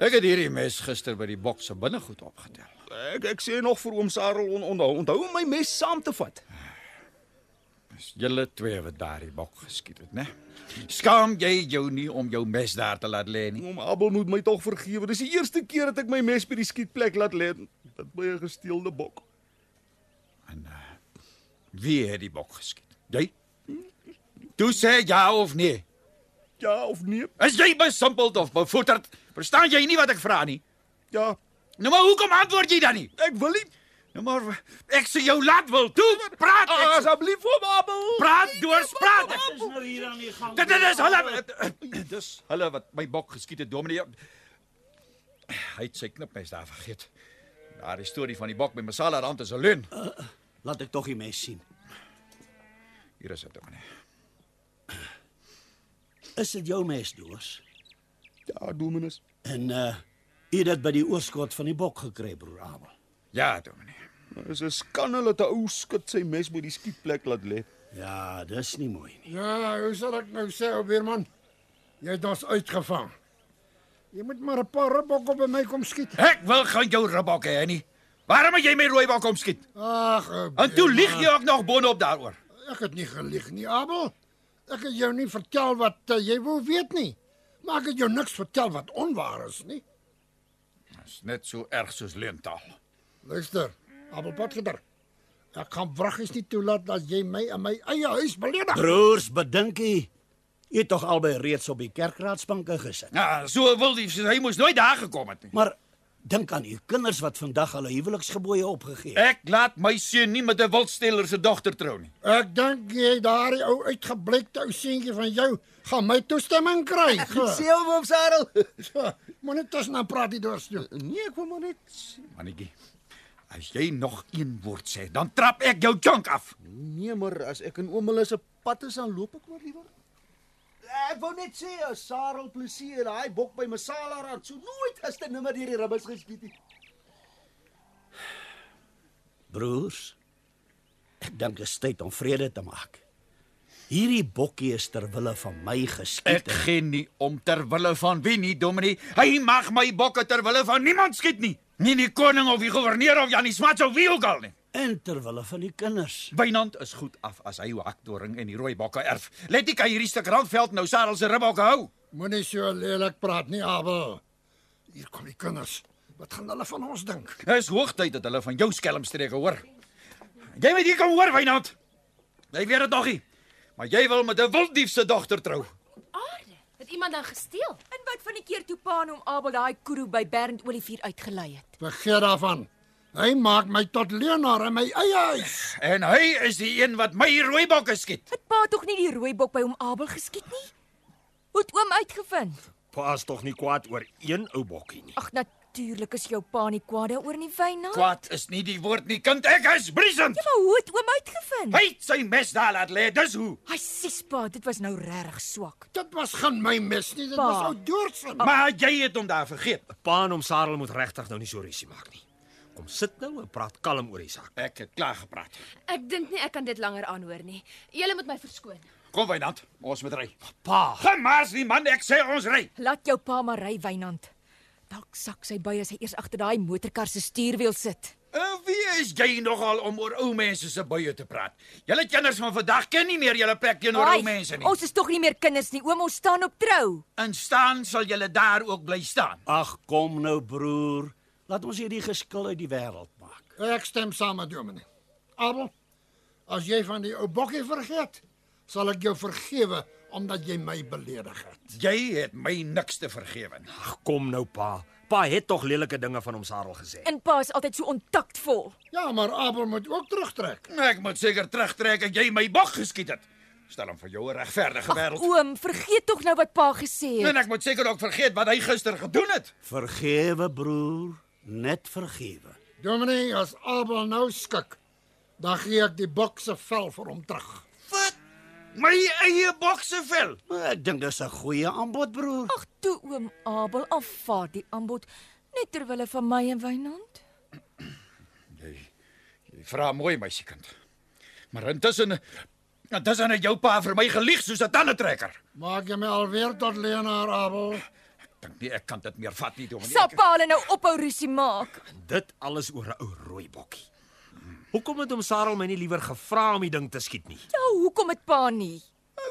Ek het hierdie mes gister by die bok se binnegoed opgetel. Ek ek sê nog vir oom Sarel on, onthou onthou om my mes saam te vat. Dis julle twee wat daardie bok geskiet het, né? Skaam jy jou nie om jou mes daar te laat lê nie? Oom Abel moet my tog vergewe. Dis die eerste keer dat ek my mes by die skietplek laat lê. Dit by 'n gesteelde bok. En uh, wie het die bok geskiet? Jy? Toe sê ja of nee. Ja of nee? Is jy besimpeld of bevoeterd? Verstaan jy nie wat ek vra nie? Ja. Nou maar hoekom antwoord jy dan nie? Ek wil nie. Nou maar ek sê jou laat wil toe. Praat ek. sê- Asseblief oom Abel. Praat dors praat. Dit is nou hier aan die gang. Dit dit is hulle dis hulle wat my bok geskiet het, dominee. Hy het sy knipmes daar vergeet. Daardie storie van die bok by Masala rand is 'n leuen. Eh, Laat ek tog die mes sien. Hier is dit, dominee. Is dit jou mes, Doors? Ja, Dominus. En uh jy het dit by die oorskot van die bok gekry, broer Abel. Ja, dominee. Dis 'n skande dat 'n ou skit sy mes by die skietplek laat lê. Ja, dis nie mooi nie. Ja, hoe sal ek nou sê, ou Weerman? Jy het ons uitgevang. Jy moet maar 'n paar ribbokke by my kom skiet. Ek wil gaan jou ribbok hê nie. Waarom het jy my rooi bak omskiet? Ag, ou En toe Beerman, lieg jy ook nog bonop daaroor. Ek het nie gelieg nie, Abel. Ek het jou nie vertel wat uh, jy wou weet nie. Maar ek het jou niks vertel wat onwaar is nie. Dis net so erg soos leentaal. Luister, Abel Potgieter. Ek gaan wraggies nie toelaat dat jy my in my eie huis beledig. Broers, bedinkie. Jy het tog albei reeds op die kerkraadsbanke gesit. Ja, so wil die hy moes nooit daar gekom het nie. Maar dink aan u kinders wat vandag hulle huweliksgebooie opgegee het. Ek laat my seun nie met 'n wildsteller se dogter trou nie. Ek dink jy daardie ou uitgeblikte ou seentjie van jou gaan my toestemming kry. Sê hom oom Sarel. Moenie tussen aan praat hier deur. Nee, ek wil maar net sê- Mannetjie, as jy nog een woord sê, dan trap ek jou junk af. Nee, maar as ek in oom hulle se pad is, dan loop ek maar liewer. Ek wou net sê, ou Sarel plesier, daai bok by Masala rand, so nooit is dit nimmer deur die ribbels geskiet nie. Broers, ek dink dit is tyd om vrede te maak. Hierdie bokkie is ter wille van my geskiet. Ek en- gee nie om ter wille van wie nie, Dominee. Hy mag my bokke ter wille van niemand skiet nie. Nie die koning of die goewerneur of Janie Smuts of wie ook al nie. En ter wille van die kinders. Wynand is goed af as hy hakdoring en die rooi bokke erf. Let nie kan hierdie stuk randveld nou Sarel se ribbokke hou. Moenie so lelik praat nie, Abel. Hier kom die kinders. Wat gaan hulle van ons dink? Dis hoogtyd dat hulle van jou skelmstreke hoor. Jy moet hier kom hoor, Wynand. Jy weet dit nog nie. Maar jy wil met 'n wilddief se dogter trou. Aarde, het iemand dan gesteel? En wat van die keer toe pa hom Abel daai koeroe by Bernd Olivier uitgelei het? Vergeet daarvan. Hy maak my tot leenaar in my eie huis. En hy is die een wat my rooibokke skiet. Het pa tog nie die rooi bok by hom Abel geskiet nie? Hoe het oom uitgevind? Paas tog nie kwaad oor een ou bokkie nie. Ag, Natuurlik is jou pa nie kwaad daaroor nie, Wynand. Ja, Kwaad is nie die woord nie, kind. Ek is briesend. Maar hoe het oom uitgevind? Hy het sy mes daar laat lê. Dis hoe. Hy sies pa, dit was nou regtig swak. Dit was geen my mes nie, dit Pa. was ou Doortse. Maar jy het hom daar vergeet. Pa en hom Sarel moet regtig nou nie so rusie maak nie. Kom sit nou en praat kalm oor die saak. Ek het klaar gepraat. Ek dink nie ek kan dit langer aanhoor nie. Julle moet my verskoon. Kom Wynand, ons moet ry. Pa, Gemaas die man, ek sê ons ry. Laat jou pa maar ry, Wynand. Dalk sak sy by as hy eers agter daai motorkar se stuurwiel sit. En Eh, wie is jy nogal om oor ou mense se buie te praat? Julle kinders van vandag ken nie meer julle plek teenoor ou Ai, mense nie. Ons is tog nie meer kinders nie, oom, ons staan op trou. En staan sal julle daar ook bly staan. Ag, kom nou broer. Laat ons hierdie geskil uit die wêreld maak. Ek stem saam met Dominee. Abel, as jy van die ou bokkie vergeet, sal ek jou vergewe omdat jy my beledig het. Jy het my niks te vergewe nie. ag kom nou pa. Pa het tog lelike dinge van hom Sarel gesê. En pa is altyd so ontaktvol. Ja, maar Abel moet ook terugtrek. Ek moet seker terugtrek dat jy my bog geskiet het. Stel hom vir jou 'n regverdige wêreld. Oom, vergeet tog nou wat pa gesê Nee, En het. ek moet seker ook vergeet wat hy gister gedoen het. Vergewe broer, net vergewe. Dominee, as Abel nou skik, dan gee ek die bok se vel vir hom terug. Wat? My eie bok se vel. Maar ek dink dis 'n goeie aanbod broer. Ag toe oom Abel afvaar die aanbod net ter wille van my en Wynand. Jy jy vra mooi meisiekind. Maar intussen intussen het jou pa vir my gelieg soos 'n tandetrekker. Maak jy my alweer tot leienaar, Abel? Dink nie ek kan dit meer vat nie, Nee, Dominee. Sal pa hulle nou ophou rusie maak? Dit alles oor 'n ou rooi bokkie. Hoekom het hom Sarel my nie liewer gevra om die ding te skiet nie? Ja, hoekom het pa nie?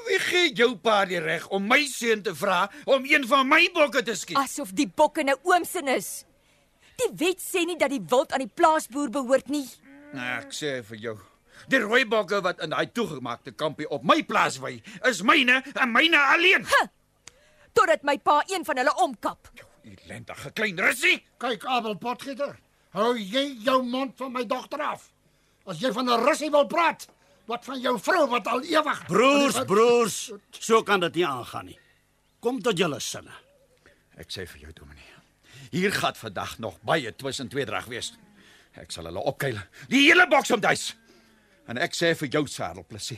Wie gee jou pa die reg om my seun te vra om een van my bokke te skiet? Asof die bokke nou oom se is. Die wet sê nie dat die wild aan die plaasboer behoort nie. Ah, ek sê vir jou, die rooi bokke wat in daai toegemaakte kampie op my plaas wy, is myne en myne alleen. Totdat my pa een van hulle omkap. Elendige klein russie. Kyk, Abel Potgieter, hou jy jou mond van my dogter af. As jy van 'n russie wil praat, wat van jou vrou wat al ewig Broers, broers, so kan dit nie aangaan nie. Kom tot julle sinne. Ek sê vir jou, Dominee. Hier gaan vandag nog baie twis en tweedrag wees. Ek sal hulle opkuil. Die hele boks om duis. En ek sê vir jou, Sarel Plessis,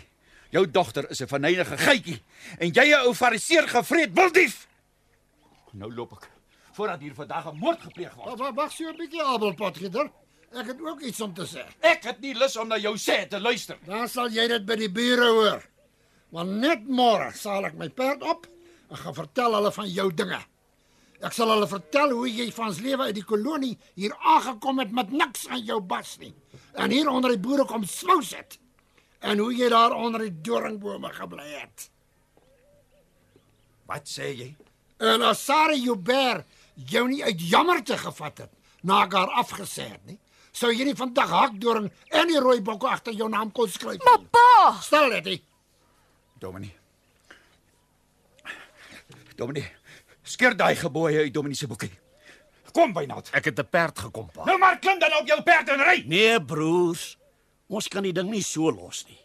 jou dogter is 'n verneinige geitjie en jy 'n ou fariseer gevreet wildief. Nou loop ek voordat hier vandag 'n moord gepleeg word. Wa- wa- Wag so 'n bietjie, Abel Potgieter. Ek het ook iets om te sê. Ek het nie lus om na jou sê te luister. Dan sal jy dit by die bure hoor. Want net môre sal ek my perd op en gaan vertel hulle van jou dinge. Ek sal hulle vertel hoe jy van ons lewe uit die kolonie hier aangekom het met niks aan jou bas nie. En hier onder die boere kom swou sit. En hoe jy daar onder die doringbome gebly het. Wat sê jy? En as Sarah Joubert jou nie uit jammerte gevat het na ek haar afgesê het nie, sou jy nie vandag hakdoring en die rooi bokke agter jou naam kon skryf. Maar pa, Stel dit. nie. Dominee. Dominee, skeer daai geboue uit Dominee se boekie. Kom bynaat. Ek het te perd gekom, pa. Nou maar klim dan op jou perd en ry. Nee broers, ons kan die ding nie so los nie.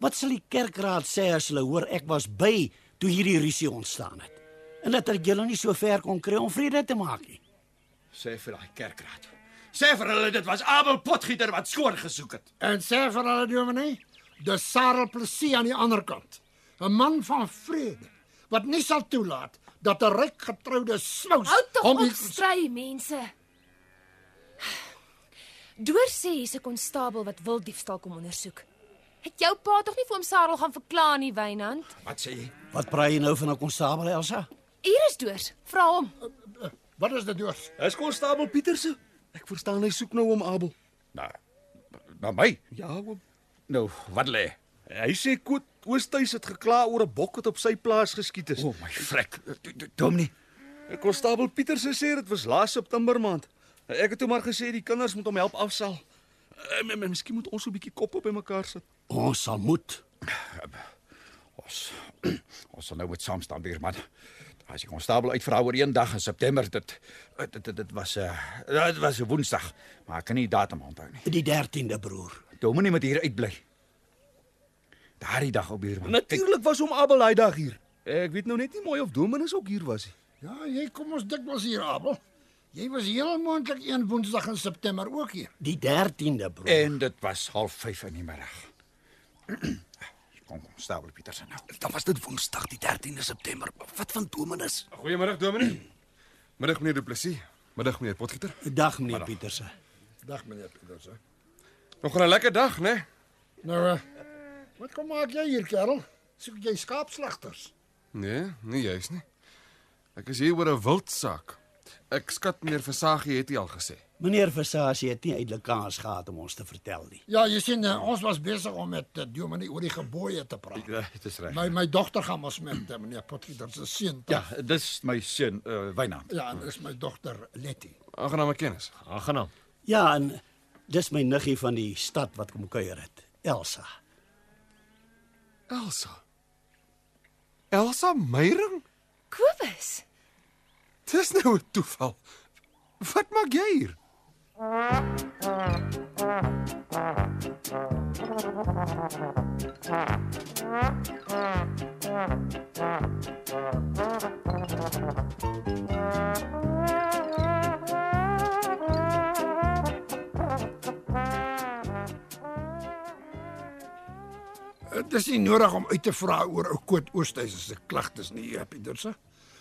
Wat sal die kerkraad sê as hulle hoor ek was by toe hierdie rusie ontstaan het? En dat ek julle nie so ver kon kry om vrede te maak nie. Sê vir daai kerkraad. Sê vir hulle dit was Abel Potgieter wat skoor gesoek het. En sê vir hulle dominee, dis Sarah Plessis aan die ander kant. 'n Man van vrede wat nie sal toelaat dat 'n ryk getroude snous Hou tog hom op hier- stry, mense. Deur sê hy's 'n konstabel wat wil diefstal kom ondersoek. Het jou pa tog nie vir hom Sarel gaan verklaar nie, Wynand? Wat sê jy? Wat praai jy nou van 'n konstabel Elsa? Hier is Deur. Vra hom. Wat is dit nou? deur? Is konstabel Pieterse? Ek verstaan hy soek nou om Abel. Na na my. Ja, oom. Nou, wat lê? Hy sê Koet Oosthuis het gekla oor 'n bok wat op sy plaas geskiet is. O oh, my vrek. D- d- Dominee. Konstabel Pieterse sê dit was laas September maand. Ek het toe maar gesê die kinders moet hom help afsal. Eh, m- m- Miskien moet ons 'n bietjie koppe bymekaar sit. Ons sal moet. Ons ons sal nou moet saam staan weer man. As jy konstabel uitvra oor een dag in September dit dit dit, dit was 'n uh, dit was 'n Woensdag, maar ek kan nie die datum onthou nie. Die 13de broer. Dominee moet hier uitbly. Daardie dag op buurman. Natuurlik was hom Abel daai dag hier. Ek weet nou net nie mooi of Dominus ook hier was nie. Ja, jy kom ons dikwels hier, Abel. Jy was heel moontlik een Woensdag in September ook hier. Die 13de, broer. En dit was 05:30 in die middag. Kom kom, stapel Pietersen nou. dan was dit Woensdag die 13de September. Wat van Dominus? Goeiemôre, Dominee. Middag meneer Du Plessis. Middag meneer Potgieter. Dag meneer Pieterse. Dag meneer Pieterse. Nog 'n lekker dag, né? Nee? Nou uh, wat kom maak jy hier, kerel? Soek jy skaapslagters? nee, nie juis nie. Ek is hier oor 'n wildsaak. Ek skat meneer Versagie het dit al gesê. Meneer Versace het nie eintlik kans gehad om ons te vertel nie. Ja, jy sien uh, ons was besig om met uh, Dominee oor die gebooie te praat. Dit Ja, is reg. My my dogter gaan mos met uh, meneer Potgieter se seun. Ja, dis my seun uh, Wynand. ja, en dis my dogter Letty. Aangename kennis. Aangenaam. Ja, en dis my niggie van die stad wat kom kuier het, Elsa. Elsa. Elsa Meyering? Kobus. Dis nou 'n toeval. Wat maak jy hier? Dit is Eh, nie nodig om uit te vra oor ou Koot Oosthuizen se klagtes nie, eh, Pieterse.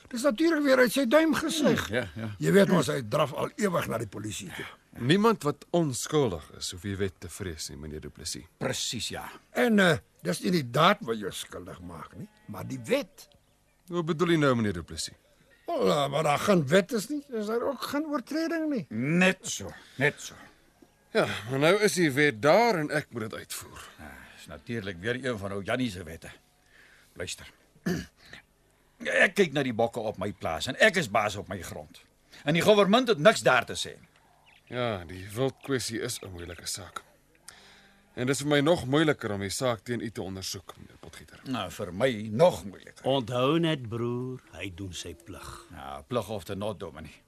Dis natuurlik weer uit sy duim gesuig. Ja, ja. Jy weet ons hy draf al ewig na die polisie toe. Niemand wat onskuldig is, hoef jy wet te vrees nie, meneer Du Plessis. Presies ja. En uh, dis nie die daad wat jou skuldig maak nie, maar die wet. Hoe bedoel jy nou, meneer Du Plessis? Wel, uh, maar daar geen wet is nie, is daar ook geen oortreding nie. Net so, net so. Ja, maar nou is die wet daar en ek moet dit uitvoer. Dis Ah, natuurlik weer een van ou Jannie se wette. Luister. Ek kyk na die bokke op my plaas en ek is baas op my grond. En die regering het niks daar te sê. Ja, die wildkwessie is 'n moeilike saak. En dit is vir my nog moeiliker om die saak teen u te ondersoek, meneer Potgieter. Nou vir my nog moeiliker. Onthou net broer, hy doen sy plig. Nou, plig of te not dominee.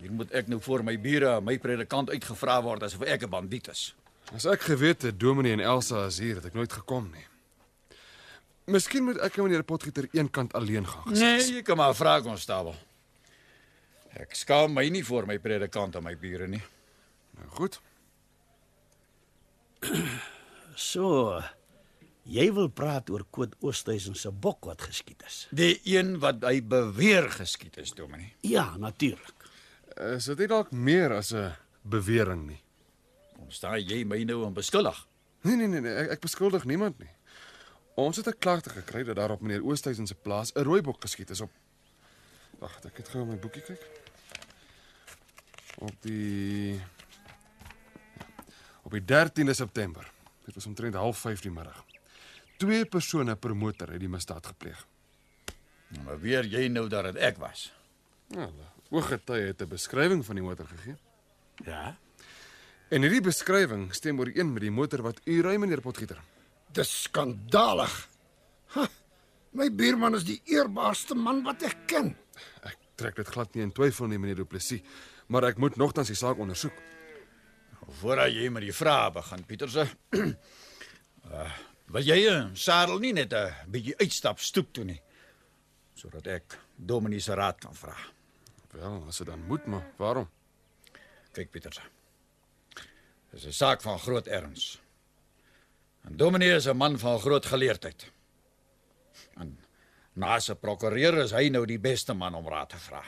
Hier moet ek nou voor my bure, en my predikant uitgevra word asof ek 'n bandiet is. As ek geweet het Dominee en Elsa is hier, het ek nooit gekom nie. Miskien moet ek en meneer Potgieter eenkant alleen gaan. gesels. Nee, jy kan maar vra konstabel. Ek skaam my nie voor my predikant en my bure nie. Nou goed. So, jy wil praat oor Koot Oosthuizen se bok wat geskiet is. Die een wat hy beweer geskiet is, dominee. Ja, natuurlik. Is dit nie dalk meer as 'n bewering nie? Kom staan jy my nou en beskuldig. Nee nee nee, nee ek, ek beskuldig niemand nie. Ons het 'n klagte gekry dat daar op meneer Oosthuizen se plaas 'n rooibok geskiet is op Wag, ek het gou in my boekie kyk. Op die ja, op die 13de September. Dit was omtrent 05:30 die middag. Twee persone per motor het die misdaad gepleeg. Maar weer jy nou dat dit ek was. Ja, ooggetuie het 'n beskrywing van die motor gegee. Ja. En hierdie beskrywing stem ooreen met die motor wat u ry meneer Potgieter. Dis skandalig. Ha, my buurman is die eerbaarste man wat ek ken. Ek trek dit glad nie in twyfel nie meneer Du Plessis, maar ek moet nogtans die saak ondersoek. Voordat jy met die vrae begin, Pieterse. uh, wil jy en Sarel nie net 'n bietjie uitstap stoep toe nie sodat ek Dominee se raad kan vra. Wel, as dit dan moet, maar waarom? Kyk, Pieterse. Dis 'n saak van groot erns. En Dominee is 'n man van groot geleerdheid. En na sy prokureur is hy nou die beste man om raad te vra.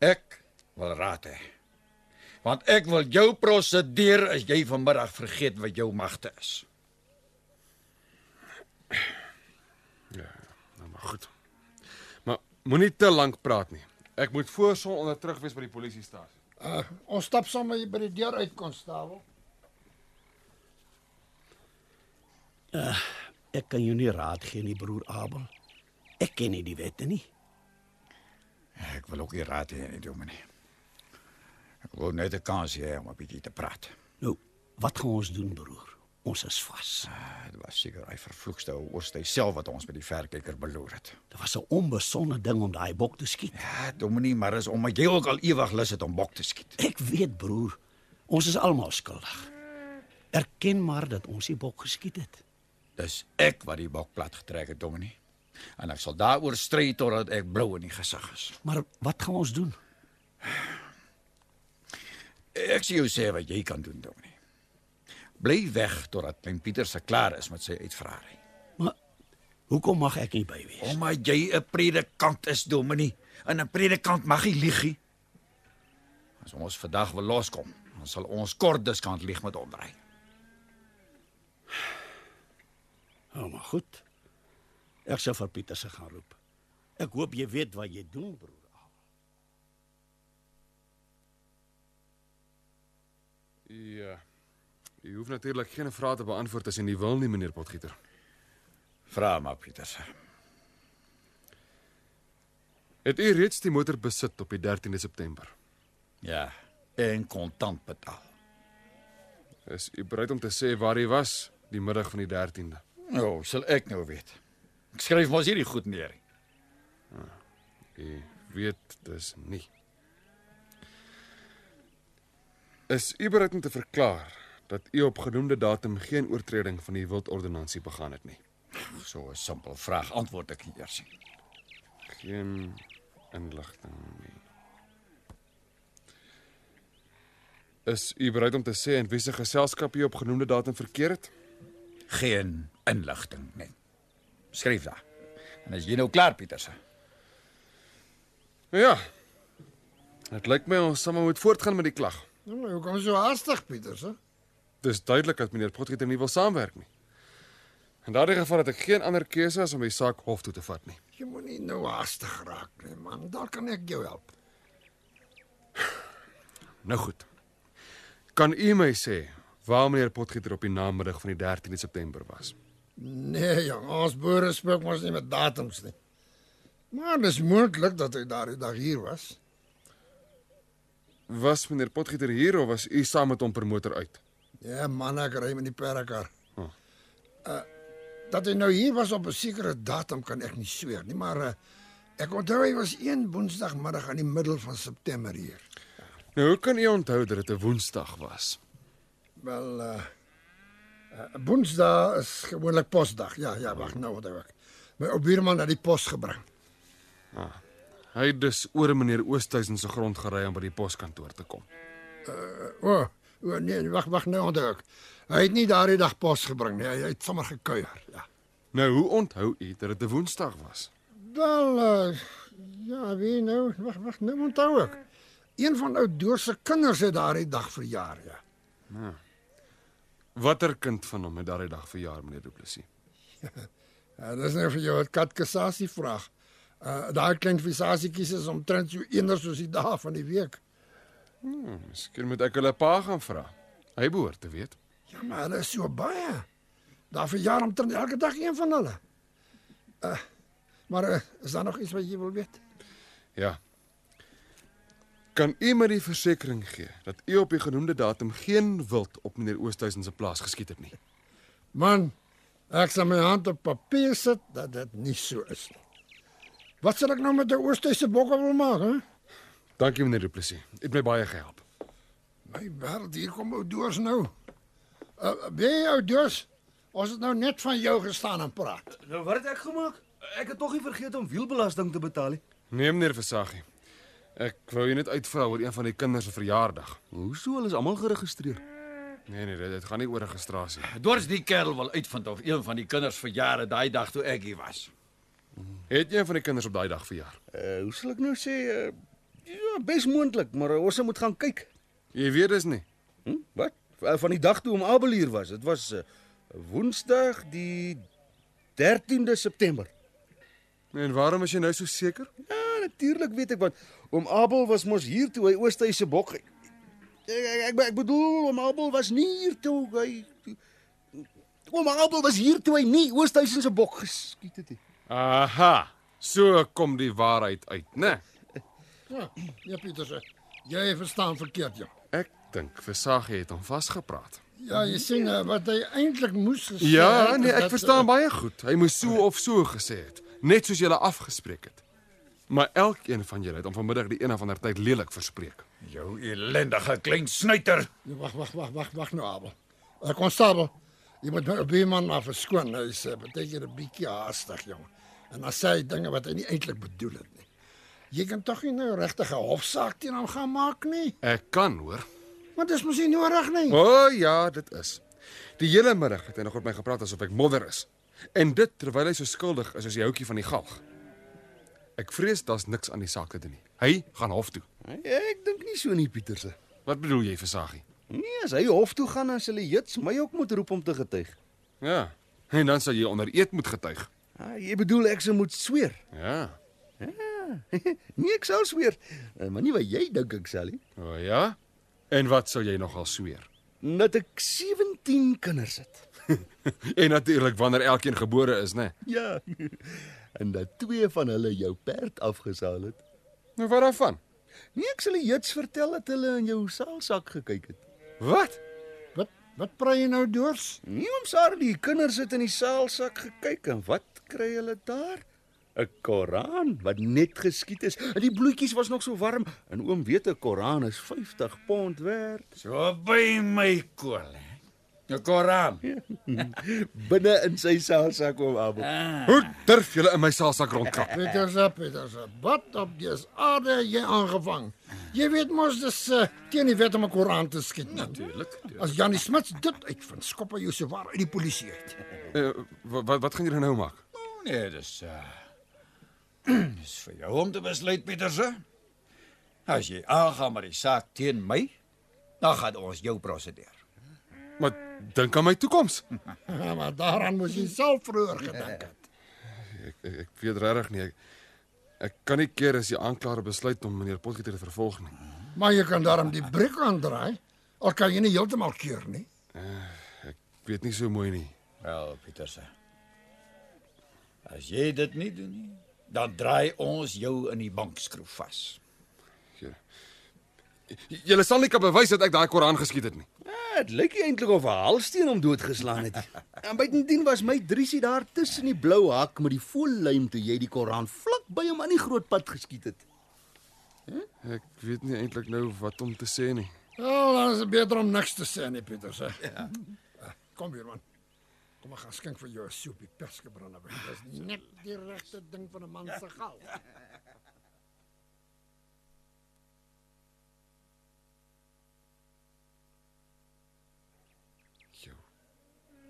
Ek wil raad hê. Want ek wil jou prosedeer as jy vanmiddag vergeet wat jou magte is. Nou maar goed. Maar moenie te lank praat nie. Ek moet voor sononder terug wees by die polisiestasie. Uh, ons stap sommer hier by die deur uit, konstabel. Eh, Ek kan jou nie raad gee nie, broer Abel. Ek ken nie die wette nie. Ek wil ook nie raad hê nie, Dominee. Ek wil net 'n kans hê om 'n bietjie te praat. Nou, wat gaan ons doen, broer? Ons is vas. Ah, Dit was seker hy vervloekste ou oorstay self wat ons met die verkyker beloer het. Dit was 'n onbesonde ding om daai bok te skiet. Ja, Dominee, maar is omdat jy ook al ewig lus het om bok te skiet. Ek weet, broer, ons is almal skuldig. Erken maar dat ons die bok geskiet het. Dis ek wat die bok plat getrek het, Dominee. En ek sal daaroor stry totdat ek blou in die gesig is. Maar wat gaan ons doen? Ek sê jou sê wat jy kan doen, Dominee. Bly weg totdat klein Pieter se klaar is met sy uitvraaery. Maar hoekom mag ek nie by wees? Omdat jy 'n predikant is, Dominee. En 'n predikant mag nie lieg nie. As ons vandag wil loskom, dan sal ons kort diskant lieg met omdraai. Oh, maar goed. Ek sal vir Pieter se gaan roep. Ek hoop jy weet wat jy doen, broer. Ja. Jy hoef natuurlik geen vrae te beantwoord as jy nie wil nie, meneer Potgieter. Vra maar, Pieterse. Het u reeds die motor besit op die 13de September? Ja, en kontant betaal. Is u bereid om te sê waar u was die middag van die 13de? Nou, sal ek nou weet. Ek skryf mos hierdie goed neer. Ah, U weet dis nie. Is u bereid om te verklaar dat u op genoemde datum geen oortreding van die wildordonnansie begaan het nie? So 'n simpel vraag antwoord ek nie eers nie. Geen inligting nie. Is u bereid om te sê in wiese geselskap u op genoemde datum verkeer het? Geen inligting nie. Skryf daar. En as jy nou klaar, Pieterse. Nou ja. Dit lyk my ons sal maar moet voortgaan met die klag. Nou, maar hoekom so haastig, Pieterse? Dis duidelik dat meneer Potgieter nie wil saamwerk nie. In daardie geval het ek geen ander keuse as om die saak hof toe te vat nie. Jy Nee, moenie nou haastig raak nie, man. Daar kan ek jou help. Nou goed. Kan u my sê waar meneer Potgieter op die namiddag van die 13de September was? Nee, jong, ons boere spreek mos nie met datums nie. Maar dis moontlik dat hy daardie dag hier was. Was meneer Potgieter hier of was u saam met hom per motor uit? Ja, man, ek ry met die perdekar. Hm. Uh dat hy nou hier was op 'n sekere datum kan ek nie sweer nie, maar uh, ek onthou hy was een woensdagmiddag aan die middel van September hier. Nou hoe kan u onthou dat dit 'n Woensdag was? Wel uh, uh woensdae is gewoonlik posdag. Ja, ja, wag nou wat ek. My ou buurman het die pos gebring. Ah, hy het dus oor meneer Oosthuizen se grond gery om by die poskantoor te kom. O, oh, oh, nee, wag, wag nou onthou ek. Hy het nie daardie dag pos gebring nie. Hy, hy het sommer gekuier. Ja. Nou hoe onthou u dat dit 'n Woensdag was? Wel uh, ja, wie nou? Wag, wag, nou onthou ek. Een van ou Door se kinders het daardie dag verjaar, ja. Nou. Watter kind van hom het daardie dag verjaar, meneer Du Plessis? Ja, dis nou vir jou 'n katkassasie vraag. Uh daai klein visasietjies is omtrent so eender soos die dae van die week. Hmm, miskien moet ek hulle pa gaan vra. Hy behoort te weet. Ja, maar hulle is so baie. Daar verjaar omtrent elke dag een van hulle. Uh maar uh, is daar nog iets wat jy wil weet? Ja. Kan u my die versekering gee dat u op die genoemde datum geen wild op meneer Oosthuizen se plaas geskiet het nie? Man, ek sal my hand op papier sit dat dit nie so is nie. Wat sal ek nou met 'n oorstyse bokke wil maak, hè? Dankie meneer Du Plessis. U Het my baie gehelp. My wêreld, hier kom ou Doors nou. Uh wie ou Doors? Ons het nou net van jou gestaan en praat. Nou wat het ek gemaak? Ek het tog nie vergeet om wielbelasting te betaal nie. Nee meneer Versaggie. Ek wou u net uitvra oor een van die kinders se verjaardag. Hoeso hulle is almal geregistreer? Nee nee, dit, dit gaan nie oor registrasie. Dors die kerel wil uitvind of een van die kinders verjare daai dag toe ek hier was. Het een van die kinders op daai dag verjaar? Uh, hoe sal ek nou sê? Uh, ja, bes moontlik, maar uh, ons moet gaan kyk. Jy weet dis nie. Hm? Wat? Uh, van die dag toe om Abel hier was. Dit was uh, Woensdag die 13de September. En waarom is jy nou so seker? Ja, natuurlik weet ek want oom Abel was mos hier toe hy Oosthuis se bok. Ek, ek, ek, ek bedoel oom Abel was nie hier toe hy toe- Oom Abel was hier toe hy nie Oosthuis se bok geskiet het nie. Aha. So kom die waarheid uit, né? Nee. Ja, ja Pieterse. Jy verstaan verkeerd, ja. Ek dink Versaggie het hom vasgepraat. Ja, jy sien uh, wat hy eintlik moes gesê Ja, het, nee, is ek dat, eh, verstaan baie goed. Hy moes so of so gesê het, net soos julle afgespreek het. Maar elkeen van julle het hom vanmiddag die een of ander tyd lelik verspreek. Jou elendige klein snuiter. Nee, Wag, wag, wag, wag, wag nou, Abel. nou, Ek konstabel. Jy moet nou 'n buurman maar verskoon. Hy sê baie keer 'n bietjie haastig, jong. En dan sê hy dinge wat hy nie eintlik bedoel het nie. Jy kan tog nie nou regtig 'n hofsaak teen hom gaan maak nie. Ek kan hoor. Maar dis mos nie nodig nie. O oh, ja, dit is. Die hele middag het hy nog met my gepraat asof ek modder is. En dit terwyl hy so skuldig is as die houtjie van die galg. Ek vrees daar's niks aan die saak te doen nie. Hy gaan hof toe. Ek dink nie so nie, Pieterse. Wat bedoel jy, Versaggie? Nee, as hy hof toe gaan, dan sal die jets my ook moet roep om te getuig. Ja. En dan sal jy onder eed moet getuig. Ah, jy bedoel ek se moet sweer? Ja. Ja. nee, ek sal sweer, Eh, maar nie wat jy dink ek sal nie. O oh, ja. En wat sou jy nogal sweer? Dat ek 17 kinders het. En natuurlik wanneer elkeen gebore is, né? Ja. en dat twee van hulle jou perd afgesaal het. Nou wat daarvan? Nee, ek sal die jets vertel dat hulle in jou saalsak gekyk het. Wat? Wat wat praai jy nou dors? Nee, oom Sarah, die kinders het in die saalsak gekyk en wat kry hulle daar? 'n Koran wat net geskiet is. En die bloetjies was nog so warm. En oom weet 'n Koran is 50 pond werd. So by my koel. hè. 'n Koran. Ja. Binne in sy saalsak oom Abel. Ah, Hoe durf julle in my saalsak rondkrap? Peters op, Peters op. Wat op dis aarde het jy aangevang. Jy weet mos dis uh, teen die wet om 'n Koran te skiet. Natuurlik. As Janie Smits dit uitvind, skop hy jou so waar uit die polisie uit. Uh, wat wat gaan julle nou maak? O, Nee, dis uh dis vir jou om te besluit, Pieterse. As jy aangaan met die saak teen my, dan gaan ons jou prosedeer. Maar dink aan my toekoms. maar daaraan moes jy self vroeër gedink het. Ek ek, ek weet regtig nie. Ek, ek kan nie keer as die aanklaer besluit om meneer Potgieter te vervolg nie. Maar jy kan daarom die briek aandraai. Al kan jy nie heeltemal keer nie. Eh, Ek weet nie so mooi nie. Wel, Pieterse. As jy dit nie doen nie, dan draai ons jou in die bankskroef vas. J- Julle sal nie kan bewys dat ek daai Koran geskiet het nie. Ja, dit lyk nie eintlik of 'n halsteen hom doodgeslaan het. en buitendien Ja, was my driesie daar tussen die blou hak met die volluim toe jy die Koran vlak by hom aan die groot pad geskiet het. Ek weet nie eintlik nou wat om te sê nie. Wel, dan is dit beter om niks te sê nie, Peters. Ja. Ah, Kom hier man. Kom maar gaan skink vir jou 'n soepie persgebrande wyn. Dis net die regte ding van 'n man se gal.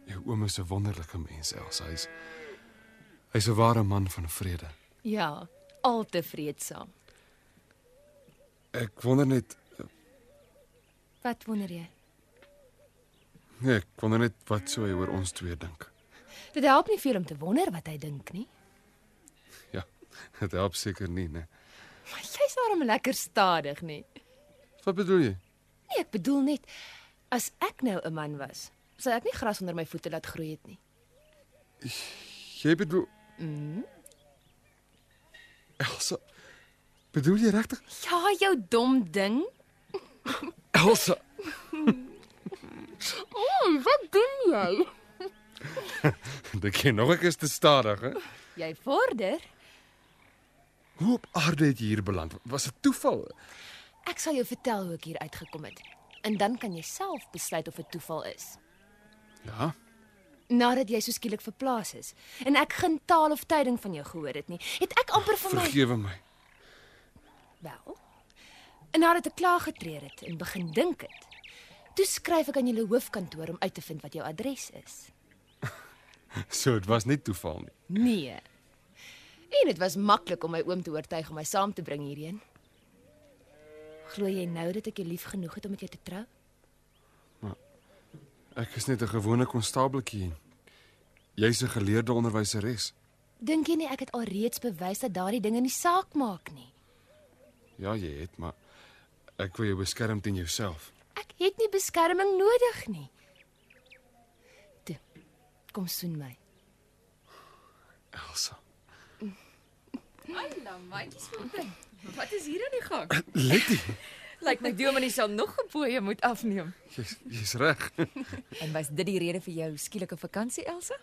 Jou oom is 'n wonderlike mens, Elsa. Hy's hy's 'n ware man van vrede. Ja, al te vreedsaam. Ek wonder net Wat wonder jy? nee, ek wonder net wat sou hy oor ons twee dink. Dit help nie veel om te wonder wat hy dink nie. Ja, dit help seker nie, né? Maar jy's daarom lekker stadig nee. nie. Wat bedoel jy? Nee, ek bedoel net as ek nou 'n man was, sou ek nie gras onder my voete laat groei het nie. Jy bedoel Mm. Elsa. Bedoel jy regtig? Ja, jou dom ding. Elsa, Oei, wat doen jy? dink jy nog ek is te stadig, hè? Jy vorder. Hoe op aarde het jy hier beland? Was dit toeval? Ek sal jou vertel hoe ek hier uitgekom het en dan kan jy self besluit of dit toeval is. Ja. Nadat jy so skielik verplaas is en ek geen taal of tyding van jou gehoor het nie, het ek amper van my Vergewe my. Wel. En nadat ek klaar getree het en begin dink het, toe skryf ek aan julle hoofkantoor om uit te vind wat jou adres is. So dit was nie toeval nie. Nee. En dit was maklik om my oom te oortuig om my saam te bring hierheen. Glo jy nou dat ek jou lief genoeg het om met jou te trou? Ek is net 'n gewone konstabeltjie. Jy's 'n geleerde onderwyseres. Dink jy nie ek het alreeds bewys dat daardie dinge nie saak maak nie? Ja, jy het, maar ek wil jou beskerm teen jouself. Ek het nie beskerming nodig nie. Toe. Kom soen my. Elsa. Hallo, nou, maatjies groete. Wat is hier aan die gang? Letty, Lyk my Dominie sal nog geboye moet afneem. jy's jy's reg. En was dit die rede vir jou skielike vakansie, Elsa?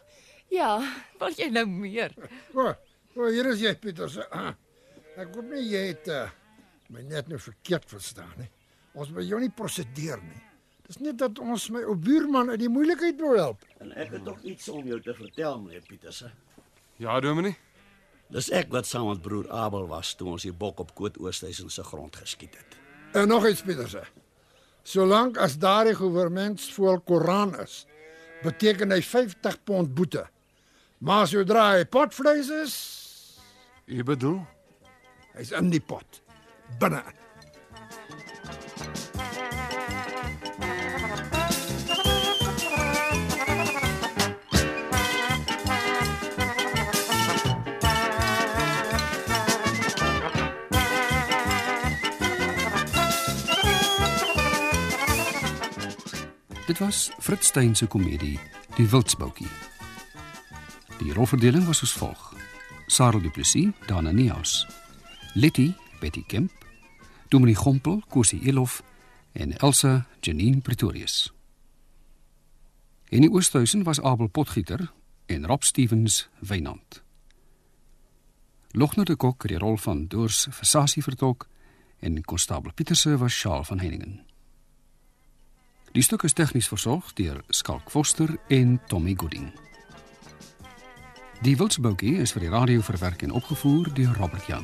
Ja, wil jy nou meer? O, o hier is jy Pieters. Ah, Ek hoop nie jy het uh, my net nou verkeerd verstaan nie. Ons wil jou nie prosedeer nie. Dis net dat ons my ou buurman uit die moeilikheid wil help. En ek het tog iets om jou te vertel, meneer Pieterse. Ja, Dominee. Dis ek wat saam met broer Abel was toe ons die bok op Koot Oosthuizen se grond geskiet het. En nog iets Pieterse. Solank as daardie regering voor Koran is, beteken hy 50 pond boete. Maar sodra hy potvleis is, jy bedoel, hy's in die pot. Binne. Dit was Fritz Stein se komedie Die Wildsboukie. Die rolverdeling was soos volg: Sarah Du Plessis, Dana Neus, Letty, Betty Kemp, Dominie Gompel, Kosie Elof en Elsa Janine Pretorius. In die Oosthuizen was Abel Potgieter en Rob Stevens Wynand. Logner de Kok het die rol van Doors Versace vertolk en konstabel Pieterse was Charles van Heiningen. Die stuk is tegnies versorg deur Skalk Foster en Tommy Gooding. Die Wildsboukie is vir die radio verwerk en opgevoer deur Robert Jan.